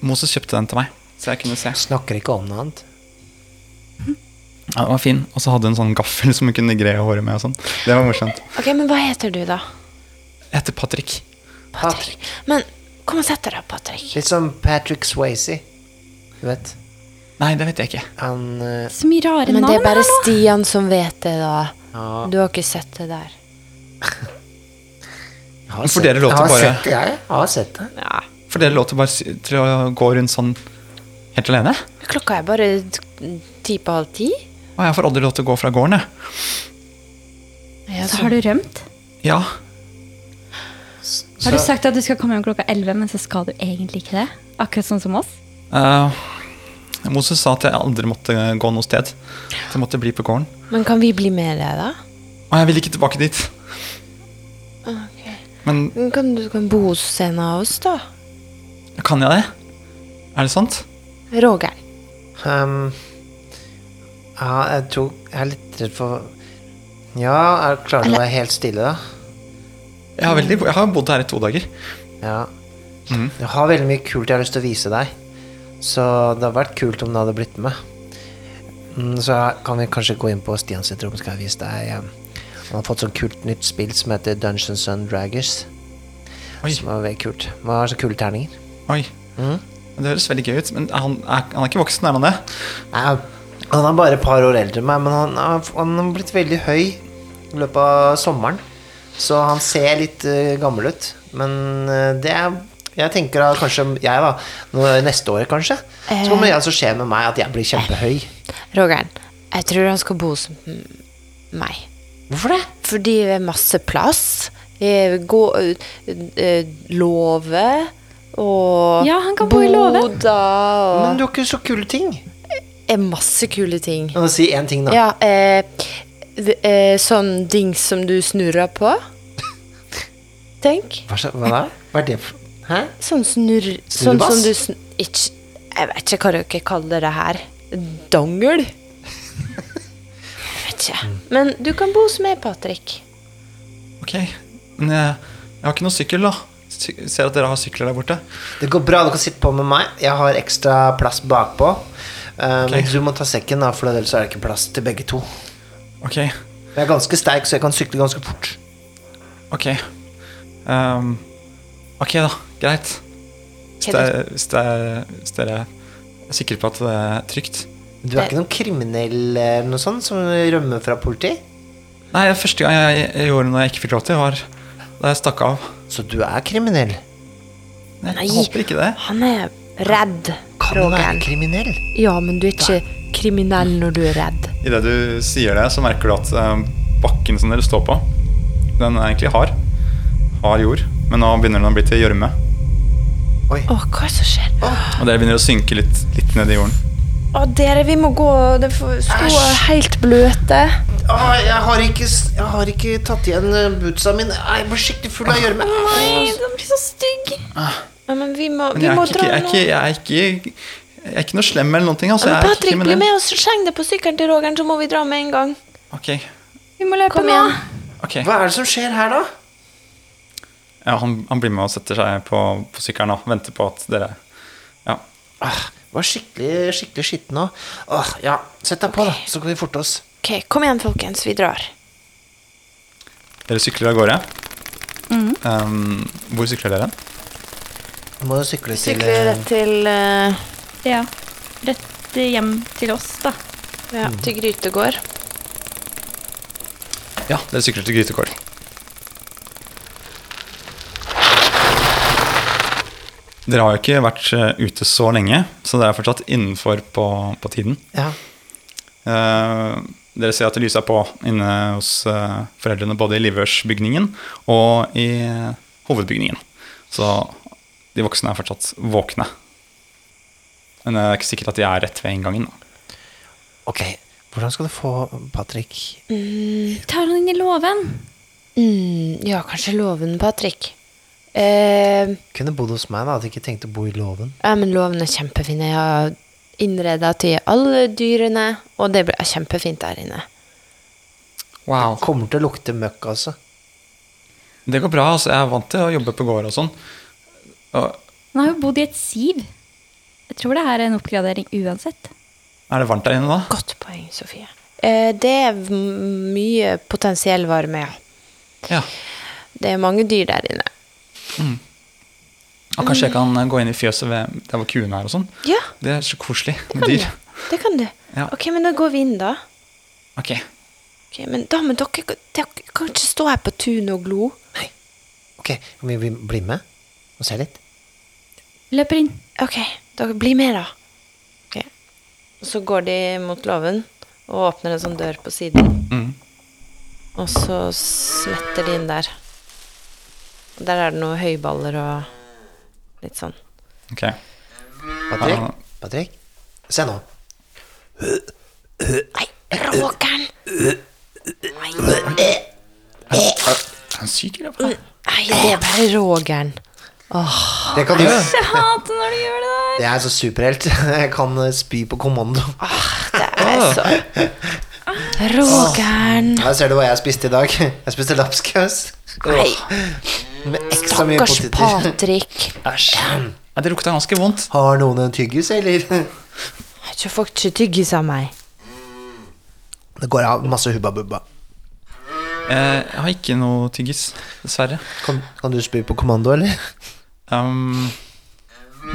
S2: Moses kjøpte den til meg, så jeg kunne se.
S1: Snakker ikke om noe annet.
S2: Ja, den var fin. Og så hadde hun en sånn gaffel som hun kunne greie håret med. og sånn. Det var morsomt.
S5: Ok, men hva heter du, da?
S2: Jeg heter Patrick.
S1: Patrick.
S5: Men kom og sett deg, da, Patrick.
S1: Litt som Patrick Swayze. Du vet.
S2: Nei, det vet jeg ikke.
S1: Han eh,
S7: Så mye rare
S5: Men
S7: navn.
S5: det er bare
S7: her nå.
S5: Stian som vet det, da.
S1: Ja.
S5: Du har ikke sett det der.
S1: har
S2: Men for
S1: sett-
S2: dere lå til
S1: har
S2: bare-
S1: sett det, jeg. Jeg har sett det.
S5: Ja.
S2: For dere lå til bare s- til å gå rundt sånn helt alene?
S5: Klokka er bare t- ti på halv ti.
S2: Og jeg får aldri lov til å gå fra gården, jeg.
S7: Så har du rømt.
S2: Ja.
S7: Har du sagt at du skal komme hjem klokka 11, men så skal du egentlig ikke det? Akkurat sånn som oss?
S2: eh, Moses sa at jeg aldri måtte gå noe sted. At jeg måtte bli på gården.
S5: Men kan vi bli med deg, da?
S2: Og jeg vil ikke tilbake dit. Men
S5: Men Kan du kan bo hos en av oss, da?
S2: kan jeg det? Er det sant?
S5: Roger.
S1: Ehm, ja, jeg tror Jeg er litt redd for Ja, er, klarer du å være helt stille, da?
S2: Jeg har, veldig, jeg har bodd her i to dager.
S1: Ja. Jeg har veldig mye kult jeg har lyst til å vise deg. Så det hadde vært kult om du hadde blitt med. Mm, Så kan vi kanskje gå inn på Stian sitt rom, skal jeg vise deg. eh, Han har fått sånn kult nytt spill som heter Dungeons and Dragers.
S2: Oi.
S1: Som er veldig kult. Man har så kule terninger.
S2: Oi. Det høres veldig gøy ut. Men er han er, han er ikke voksen, er han det?
S1: Nei, han er bare et par år eldre enn meg, men han har, han har blitt veldig høy i løpet av sommeren. Så han ser litt eh, gammel ut. Men eh, det er Jeg tenker da kanskje jeg, da. Nå, neste år, kanskje. Så kommer det altså skje med meg at jeg blir kjempehøy.
S5: Roger'n, jeg tror han skal bo hos m- meg. Hvorfor det? Fordi det er masse plass. Eh, Gå ø, ø, Låve og
S7: Ja, han kan bo i låve.
S5: Boda og
S1: Men du har ikke så kule ting.
S5: er masse kule ting.
S1: Nå, Si én ting, da.
S5: Ja, eh, d- eh, sånn dings som du snurrer på. Tenk.
S1: Hva, så- hva da? Hva er det for Hæ?
S5: Sånn snurr... Sånn
S1: Snurrebass?
S5: som du sn... Ikke, jeg vet ikke hva dere kaller det her. Dongel? Jeg vet ikke. Men du kan bo hos meg, Patrick.
S2: Ok. Men jeg, jeg har ikke noe sykkel, da. Sy ser at dere har sykler der borte.
S1: Det går bra, du kan sitte på med meg. Jeg har ekstra plass bakpå. Eh, Men
S2: Ok.
S1: du må ta sekken, da, for ellers er det ikke plass til begge to.
S2: Ok.
S1: Jeg er ganske sterk, så jeg kan sykle ganske fort.
S2: Ok. Ehm, ok, da. Greit. Hvis
S5: Kjeder.
S2: det- Hvis det er- hvis dere er sikre på at det er trygt.
S1: Du er ikke noen kriminell eller noe sånt som rømmer fra politi?
S2: Nei, det første gang jeg, jeg gjorde noe jeg ikke fikk lov til, var da jeg stakk av.
S1: Så du er kriminell?
S2: Jeg
S5: Nei.
S2: håper ikke det.
S5: Han er redd,
S1: Kan du være
S5: Roger'n.
S1: kriminell?
S5: Ja, men du er ikke kriminell når du er redd.
S2: Idet du sier det, så merker du at eh, bakken som dere står på, den er egentlig hard. Hard jord. Men nå begynner den å bli til gjørme.
S5: Å, hva er det som skjer? Å,
S2: Og dere begynner å synke litt, litt ned i jorden.
S5: dere, vi må gå. Det får stå helt bløte.
S1: Å, Ah, jeg, har ikke, s- jeg har ikke tatt igjen eh, bootsa mine. Nei, Jeg blir skikkelig full av gjørme.
S5: Nei, den blir så stygg. Ja, men vi må,
S2: Ah. Men
S5: vi
S2: jeg
S5: må
S2: er, ikke,
S5: dra
S2: jeg, er
S5: nå.
S2: ikke, jeg, er ikke, jeg er ikke noe slem eller noen ting. Altså.
S5: Men
S2: Jeg er ikke
S5: Patrick, bli
S2: kriminell.
S5: med oss. Sleng deg på sykkelen til Roger'n, så må vi dra med en gang.
S2: Ok,
S7: Vi må løpe
S5: Kom
S7: nå.
S5: igjen.
S2: ok.
S1: Hva er det som skjer her, da?
S2: Ja, han, han blir med og setter seg på, på sykkelen og venter på at dere Ja.
S1: Ah, var skikkelig skikkelig skitten nå. Åh, ja, Sett deg på, da, så kan vi forte oss.
S5: Ok, Kom igjen, folkens. Vi drar.
S2: Dere sykler av gårde.
S5: Mm.
S2: Um, hvor sykler dere?
S1: Vi må jo sykle til
S5: Sykler
S1: eh,
S5: rett til eh,
S7: Ja. Rett hjem til oss, da.
S5: ja, til Grytegård.
S2: Ja, dere sykler til Grytekål. Dere har jo ikke vært eh, ute så lenge, så dere er fortsatt innenfor på, på tiden.
S1: Ja.
S2: Eh, dere ser at det lyser på inne hos eh, foreldrene både i Livørsbygningen og i eh, hovedbygningen. Så de voksne er fortsatt våkne. Men det er ikke sikkert at de er rett ved inngangen. Da.
S1: Ok, hvordan skal du få Patrick
S7: Tar han inn i låven?
S5: Mm, ja, kanskje låven, Patrick. Eh,
S1: Kunne bodd hos meg, da, hadde jeg ikke tenkt å bo i låven.
S5: ja, men låven er kjempefin. Jeg har innreda til alle dyrene, og det blir kjempefint der inne.
S2: Wow.
S1: Kommer til å lukte møkk, altså.
S2: Det går bra. altså Jeg er vant til å jobbe på gård og sånn. Og
S7: Han har jo bodd i et siv. Jeg tror det her er en oppgradering uansett.
S2: er det varmt der inne da?
S5: Godt poeng, Sofie. Eh, Det er m- mye potensiell varme, ja.
S2: Ja.
S5: Det er mange dyr der inne.
S2: Og kanskje jeg kan eh, gå inn i fjøset ved der hvor kuene er og sånn.
S5: Ja,
S2: Det er så koselig
S5: kan
S2: med
S5: du.
S2: dyr.
S5: Det kan du.
S2: Ja.
S5: Ok, men da går vi inn, da.
S2: Ok.
S5: Ok, men da, men dere, dere kan ikke stå her på tunet og glo.
S1: Ok, kan vi bli- bli med og se litt?
S7: Løper inn.
S5: Ok, dere blir med, da. Ok. Og så går de mot låven og åpner en sånn dør på siden.
S2: Mm.
S5: Og så smetter de inn der. Og der er det noen høyballer og litt sånn.
S2: Ok.
S1: Patrick?
S2: Ja.
S1: Patrick? Se nå.
S5: Nei, råkeren!
S2: Han er syk, eller hva?
S5: Nei, det er bare rågeren.
S1: Det kan du gjøre.
S7: Jeg hater når du gjør det der.
S1: Jeg er så superhelt. Jeg kan eh, spy på kommando.
S5: Ah. Det er så Rågeren.
S1: Her ser du hva jeg spiste i dag. Jeg spiste lapskaus.
S5: Nei,
S1: Med ekstra mye
S5: stakkars
S1: poteter.
S5: Patrick.
S2: Æsj. Ja, det lukta ganske vondt.
S1: Har noen en tyggis, eller?
S5: Jeg tror folk ikke tygges av meg.
S1: Det går av masse hubba bubba.
S2: Eh, Jeg har ikke noe tyggis, dessverre.
S1: Kan, kan du spy på kommando, eller?
S2: Um,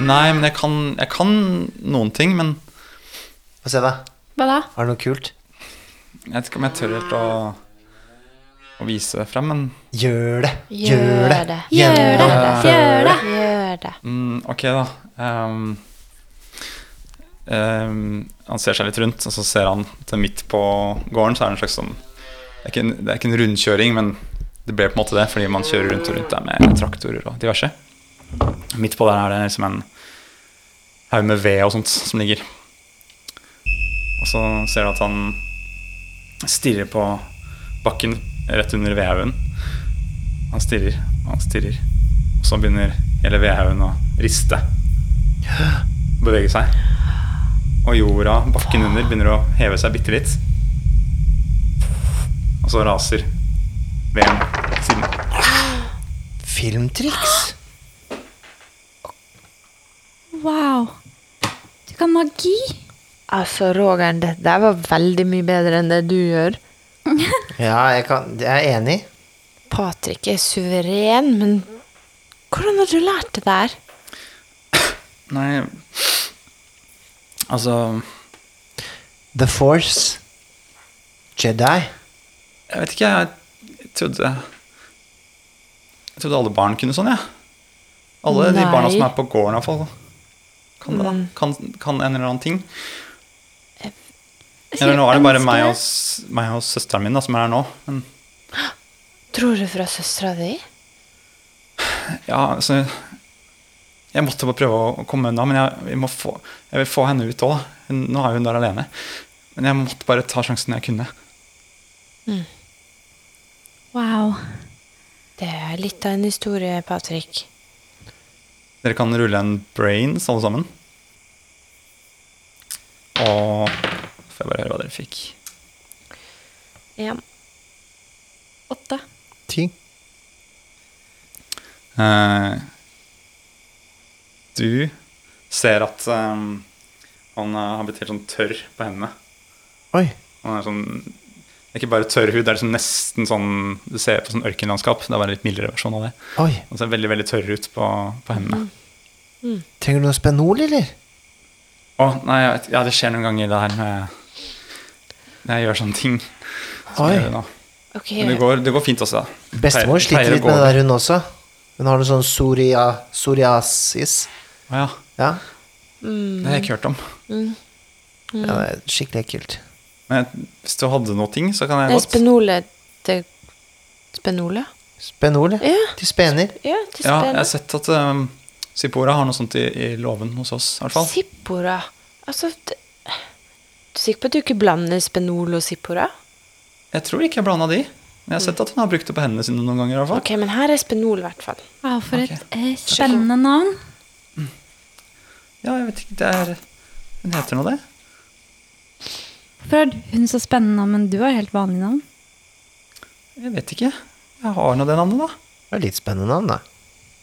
S2: nei, men jeg kan, jeg kan noen ting, men
S1: Få se, da.
S7: Hva da?
S1: Har du noe kult?
S2: jeg vet ikke om jeg tør helt å, å vise det frem. Men
S1: Gjør det.
S5: Gjør det.
S7: Gjør det. Gjør det.
S5: Gjør det.
S2: mm, ok, da. Um, um, han ser seg litt rundt, og så ser han til midt på gården. Så er det en slags sånn Det er ikke en, det er ikke en rundkjøring, men det ble på en måte det fordi man kjører rundt og rundt der med traktorer og diverse. Midt på der er det liksom en haug med ved og sånt som ligger. Og så ser du at han stirrer på bakken rett under vedhaugen. Han stirrer og han stirrer. Og så begynner hele vedhaugen å riste. Bevege seg. Og jorda, bakken under, begynner å heve seg bitte litt. Og så raser veden siden.
S1: Filmtriks.
S7: Wow. Du kan magi.
S5: Altså, Roger, det der var veldig mye bedre enn det du gjør.
S1: Ja, jeg, kan, jeg er enig.
S5: Patrick er suveren, men hvordan har du lært det der?
S2: Nei Altså
S1: The Force. Jedi.
S2: Jeg vet ikke, jeg trodde Jeg trodde alle barn kunne sånn, jeg. Alle de
S5: Nei.
S2: barna som er på gården, iallfall. Kan det, da. Kan, kan en eller annen ting. Eller nå er det bare meg og, s- meg og søsteren min da, som er her nå. Men
S5: Tror du fra søstera di?
S2: ja, altså Jeg måtte bare prøve å komme unna, men jeg, jeg, må få, jeg vil få henne ut òg. Nå er hun der alene. Men jeg måtte bare ta sjansen jeg kunne.
S7: Wow.
S5: Det er litt av en historie, Patrick.
S2: Dere kan rulle en brains, alle sammen. Og Får jeg bare høre hva dere fikk.
S5: Ja.
S7: Åtte.
S1: Ti.
S2: Eh, du ser at eh, han eh, har blitt helt sånn tørr på hendene.
S1: Oi.
S2: Han er sånn det er ikke bare tørr hud, det er liksom nesten sånn Du ser på sånn ørkenlandskap. Det er bare en litt mildere versjon av det.
S1: Oi.
S2: Han ser veldig veldig tørr ut på, på hendene.
S1: Trenger du noe spenol, eller?
S2: Å, nei, jeg vet, ja, det skjer noen ganger det her med Når jeg gjør sånne ting. som
S1: Oi.
S2: jeg gjør nå.
S5: Ok,
S2: Men det går, det går fint også, da.
S1: Bestemor sliter litt med det der, hun også. Hun har noe sånn soria, psoriasis.
S2: Å ja.
S1: Ja.
S2: Det har jeg ikke hørt om.
S1: ja, det er skikkelig ekkelt.
S2: Men jeg- hvis du hadde noe ting, så kan jeg
S5: Nei,
S2: godt
S5: spenole til Spenole?
S1: Spenol, ja.
S5: Ja.
S1: De spener.
S5: Ja, til
S2: Ja, jeg
S5: spene.
S2: har sett at um, Sipora har noe sånt i, i låven hos oss, i hvert fall.
S5: Sippora. Altså det- Du er sikker på at du ikke blander spenol og sippora?
S2: Jeg tror ikke jeg blanda de. Men jeg har sett at hun har brukt det på hendene sine noen ganger. i hvert fall.
S5: Ok, men her er spenol, i hvert fall.
S7: Wow, for et eh, spennende navn.
S2: Ja, jeg vet ikke, det er... Hun heter noe det.
S7: Hvorfor har hun så spennende navn, men du har helt vanlig navn?
S2: Jeg vet ikke. Jeg har nå det navnet, da.
S1: Det er litt spennende navn, da.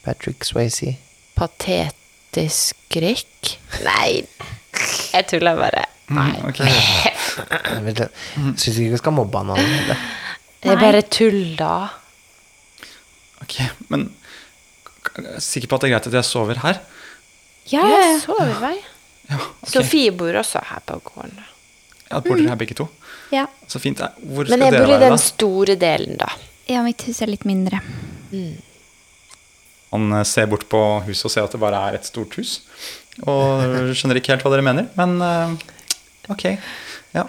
S1: Patrick Swayze.
S5: Patetisk rikk? Nei, jeg tuller bare.
S2: Mm, ok.
S1: Jeg syns ikke vi skal mobbe han. Anne. Det-
S5: Det er bare tull, da.
S2: Ok, men k- jeg er sikker på at det er greit at jeg sover her?
S5: Ja, jeg sover i vei.
S2: Ja, ok.
S5: Sofie bor også her på gården. da.
S2: Ja, bor dere her begge to?
S3: Ja.
S2: Så fint. Eh, Hvor skal
S5: Men jeg
S2: dere
S5: bor i
S2: være,
S5: den
S2: da?
S5: store delen, da.
S3: ja, mitt hus er litt mindre.
S2: Han eh, ser bort på huset og ser at det bare er et stort hus. Og skjønner ikke helt hva dere mener, men eh, ok. Ja.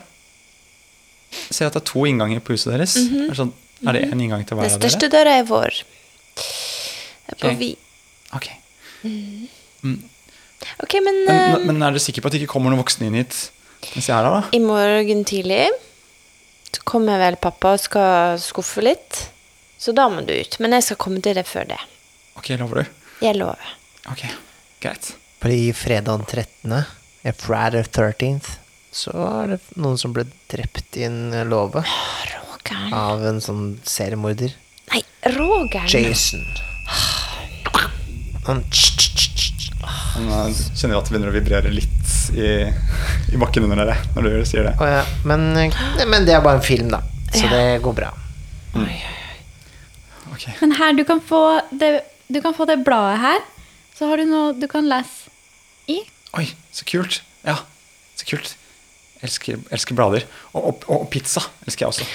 S2: Jeg ser at det er to innganger på huset deres. Er det sånn- Er det én inngang til hver
S5: Den
S2: av dere?
S5: største døra er vår. Det er på
S2: Ok.
S5: vi.
S2: Ok.
S5: Ok, men, eh,
S2: Men, men er dere sikre på at det ikke kommer noen voksne inn hit mens jeg er her, da?
S5: i morgen tidlig så kommer vel pappa og skal skuffe litt. Så da må du ut. Men jeg skal komme til deg før det.
S2: Ok, lover du?
S5: Jeg lover.
S2: Ok, greit.
S1: Fordi fredag den 13., eh, Friday the 13th, så er det noen som ble drept i en eh, låve
S5: Roger.
S1: av en sånn seriemorder.
S5: Ah. Nei, Roger.
S1: Jason. Han tsk, tsk, tsk, tsk.
S2: Han eh, kjenner at det begynner å vibrere litt i, i bakken under dere når du sier det.
S1: Å ja, men, eh, men det er bare en film, da. Så det går bra.
S2: Ok,
S7: Men her, du kan få det, du kan få det bladet her. Så har du noe du kan lese i.
S2: Oi, så kult. Ja, så kult. Elsker, elsker blader. Og, og, og pizza elsker jeg også.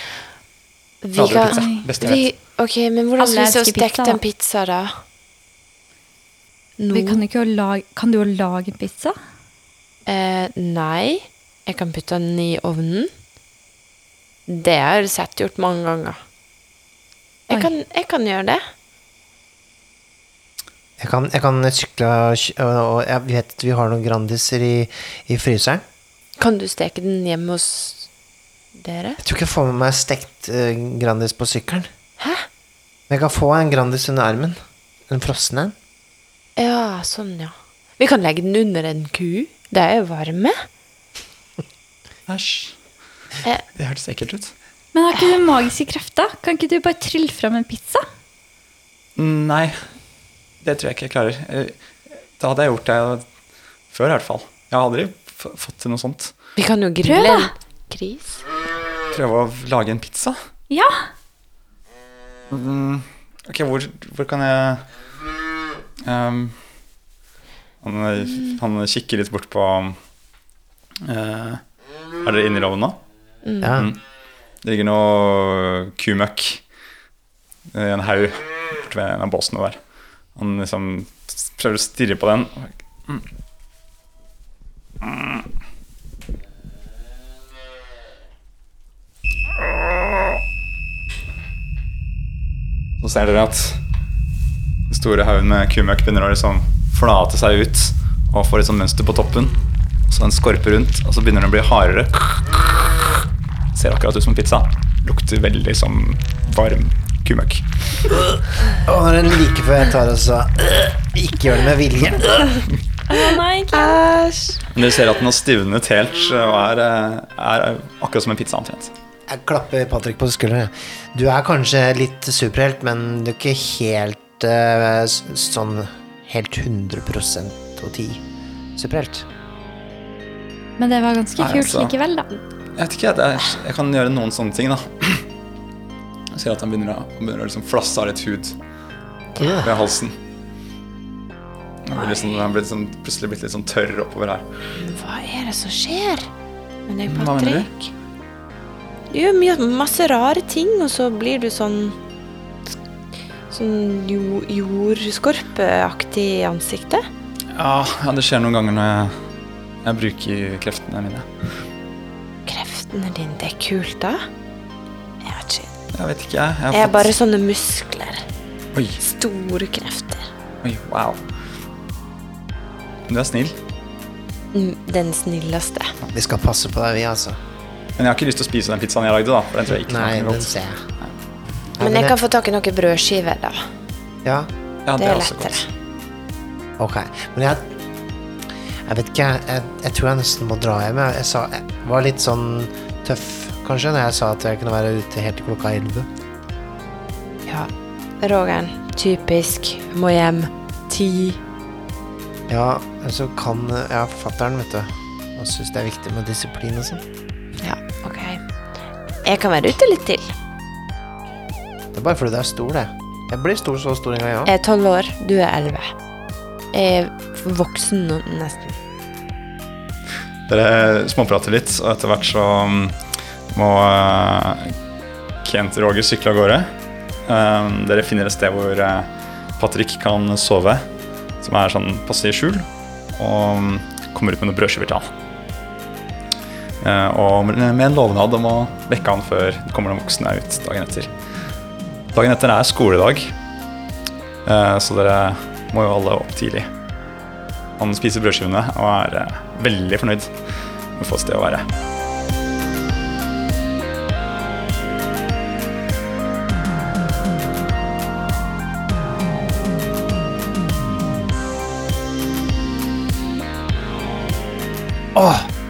S5: Vi
S2: Blader og
S5: kan...
S2: pizza. Beste jeg
S5: Vi,
S2: vet.
S5: ok, men hvordan
S7: Alle
S5: syns du å
S7: elsker
S5: steke
S7: pizza,
S5: den
S7: da.
S5: pizza, da? Nå
S7: Vi kan, ikke jo lage, kan du jo lage en pizza?
S5: eh, Nei. Jeg kan putte den i ovnen. Det har jeg sett gjort mange ganger.
S7: Oi.
S5: Jeg kan, jeg kan gjøre det.
S1: Jeg kan, jeg kan sykle og, kj- og, og jeg vet at vi har noen Grandiser i, i fryseren.
S5: Kan du steke den hjemme hos dere?
S1: Jeg tror ikke jeg får med meg stekt eh, Grandis på sykkelen. Men jeg kan få en Grandis under armen. En frossen en.
S5: Ja, sånn, ja. Vi kan legge den under en ku. Det er jo varme.
S2: Æsj.
S5: Eh.
S2: Det hørtes ekkelt ut.
S7: Men har ikke du magiske krefter? Kan ikke du bare trylle fram en pizza?
S2: Nei, det tror jeg ikke jeg klarer. Eh, Da hadde jeg gjort det før, i hvert fall. Jeg har aldri f- fått til noe sånt.
S5: Vi kan jo grille
S7: Prøv, da.
S5: en gris.
S2: Prøve å lage en pizza.
S7: Ja.
S2: Mm, ok, hvor, hvor kan jeg ehm, han, han kikker litt bort på eh, Er dere inne i loven nå?
S1: Ja.
S2: Det ligger noe kumøkk øh, i en haug borte ved en av båsene der. Han liksom s- prøver å stirre på den. Mm. Mm. Så ser dere at den store haugen med kumøkk begynner å liksom flate seg ut og får et sånt mønster på toppen. Så den skorper rundt, og så begynner den å bli hardere. Ser akkurat ut som pizza. Lukter veldig som varm kumøkk.
S1: Og når den like før jeg tar og så eh, Ikke gjør det med vilje.
S2: Men dere ser at den har stivnet helt og er, eh, er akkurat som en pizza omtrent.
S1: Jeg klapper Patrick på skulderen. jeg. Du er kanskje litt superhelt, men du er ikke helt eh, s- sånn Helt 100 og 10 superhelt.
S7: Men det var ganske
S2: Nei,
S7: kult
S2: altså.
S7: likevel, da.
S2: Jeg vet ikke, jeg, jeg kan gjøre noen sånne ting, da. Jeg ser at han begynner å, han begynner å liksom flasse av litt hud ved halsen. Han blir, liksom, han blir liksom, plutselig blitt litt sånn tørr oppover her.
S5: Hva er det som skjer med deg,
S2: Hva mener du?
S5: Patrick? Du gjør mye, masse rare ting, og så blir du sånn Sånn jo, jordskorpeaktig i ansiktet.
S2: Ja, ja, det skjer noen ganger når jeg, jeg bruker kreftene mine.
S5: Kreftene dine, det er kult, da. Jeg vet ikke.
S2: Jeg vet ikke, jeg. Jeg
S5: Jeg er bare sånne muskler.
S2: Oi,
S5: Store krefter.
S2: oi, wow. Du er snill,
S5: Mm, Den snilleste.
S1: Vi skal passe på deg, vi, altså.
S2: men jeg har ikke lyst til å spise den pizzaen jeg lagde, da. For den tror jeg ikke
S1: Nei,
S2: smaker
S1: den
S2: godt.
S1: ser jeg.
S5: Men jeg kan få tak i noen brødskiver, da.
S1: Ja,
S2: Ja,
S5: Det er
S2: også
S5: lettere.
S2: godt.
S1: Ok, men jeg Jeg vet ikke, jeg, jeg, jeg tror jeg nesten må dra hjem. Jeg, jeg, sa, jeg var litt sånn tøff, kanskje, når jeg sa at jeg kunne være ute helt til klokka 11.
S5: Ja. Roger, typisk. Må hjem. Ti.
S1: Ja, så kan Ja, fattern, vet du. Han syns det er viktig med disiplin og sånn.
S5: Ja, ok. Jeg kan være ute litt til.
S1: Det er bare fordi du er stor, det. Jeg blir stor så stor en gang, ja.
S5: Jeg er tolv år, du er elleve. Jeg er voksen nå, nesten.
S2: Dere småprater litt, og etter hvert så mm, må eh, Kent Roger sykle av gårde. Eh, Dere finner et sted hvor eh, Patrick kan sove, som er sånn passe i skjul, og mm, kommer ut med noen brødskiver til han. Eh, Og med med en lovnad om å vekke han før det kommer noen voksne ut dagen etter. Dagen etter er skoledag, eh, så dere må jo alle opp tidlig. Han spiser brødskivene og er eh, veldig fornøyd med å få et sted å være.
S1: Åh,